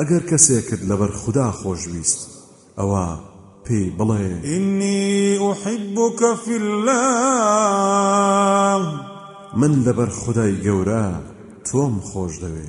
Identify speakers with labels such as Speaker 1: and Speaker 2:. Speaker 1: ئەگەر کەسێکت لەبەر خوددا خۆشویست ئەوە پێی بڵێ
Speaker 2: إني أحبك في الله
Speaker 1: من لەبەر خدای گەورە تۆم خۆش دەوێ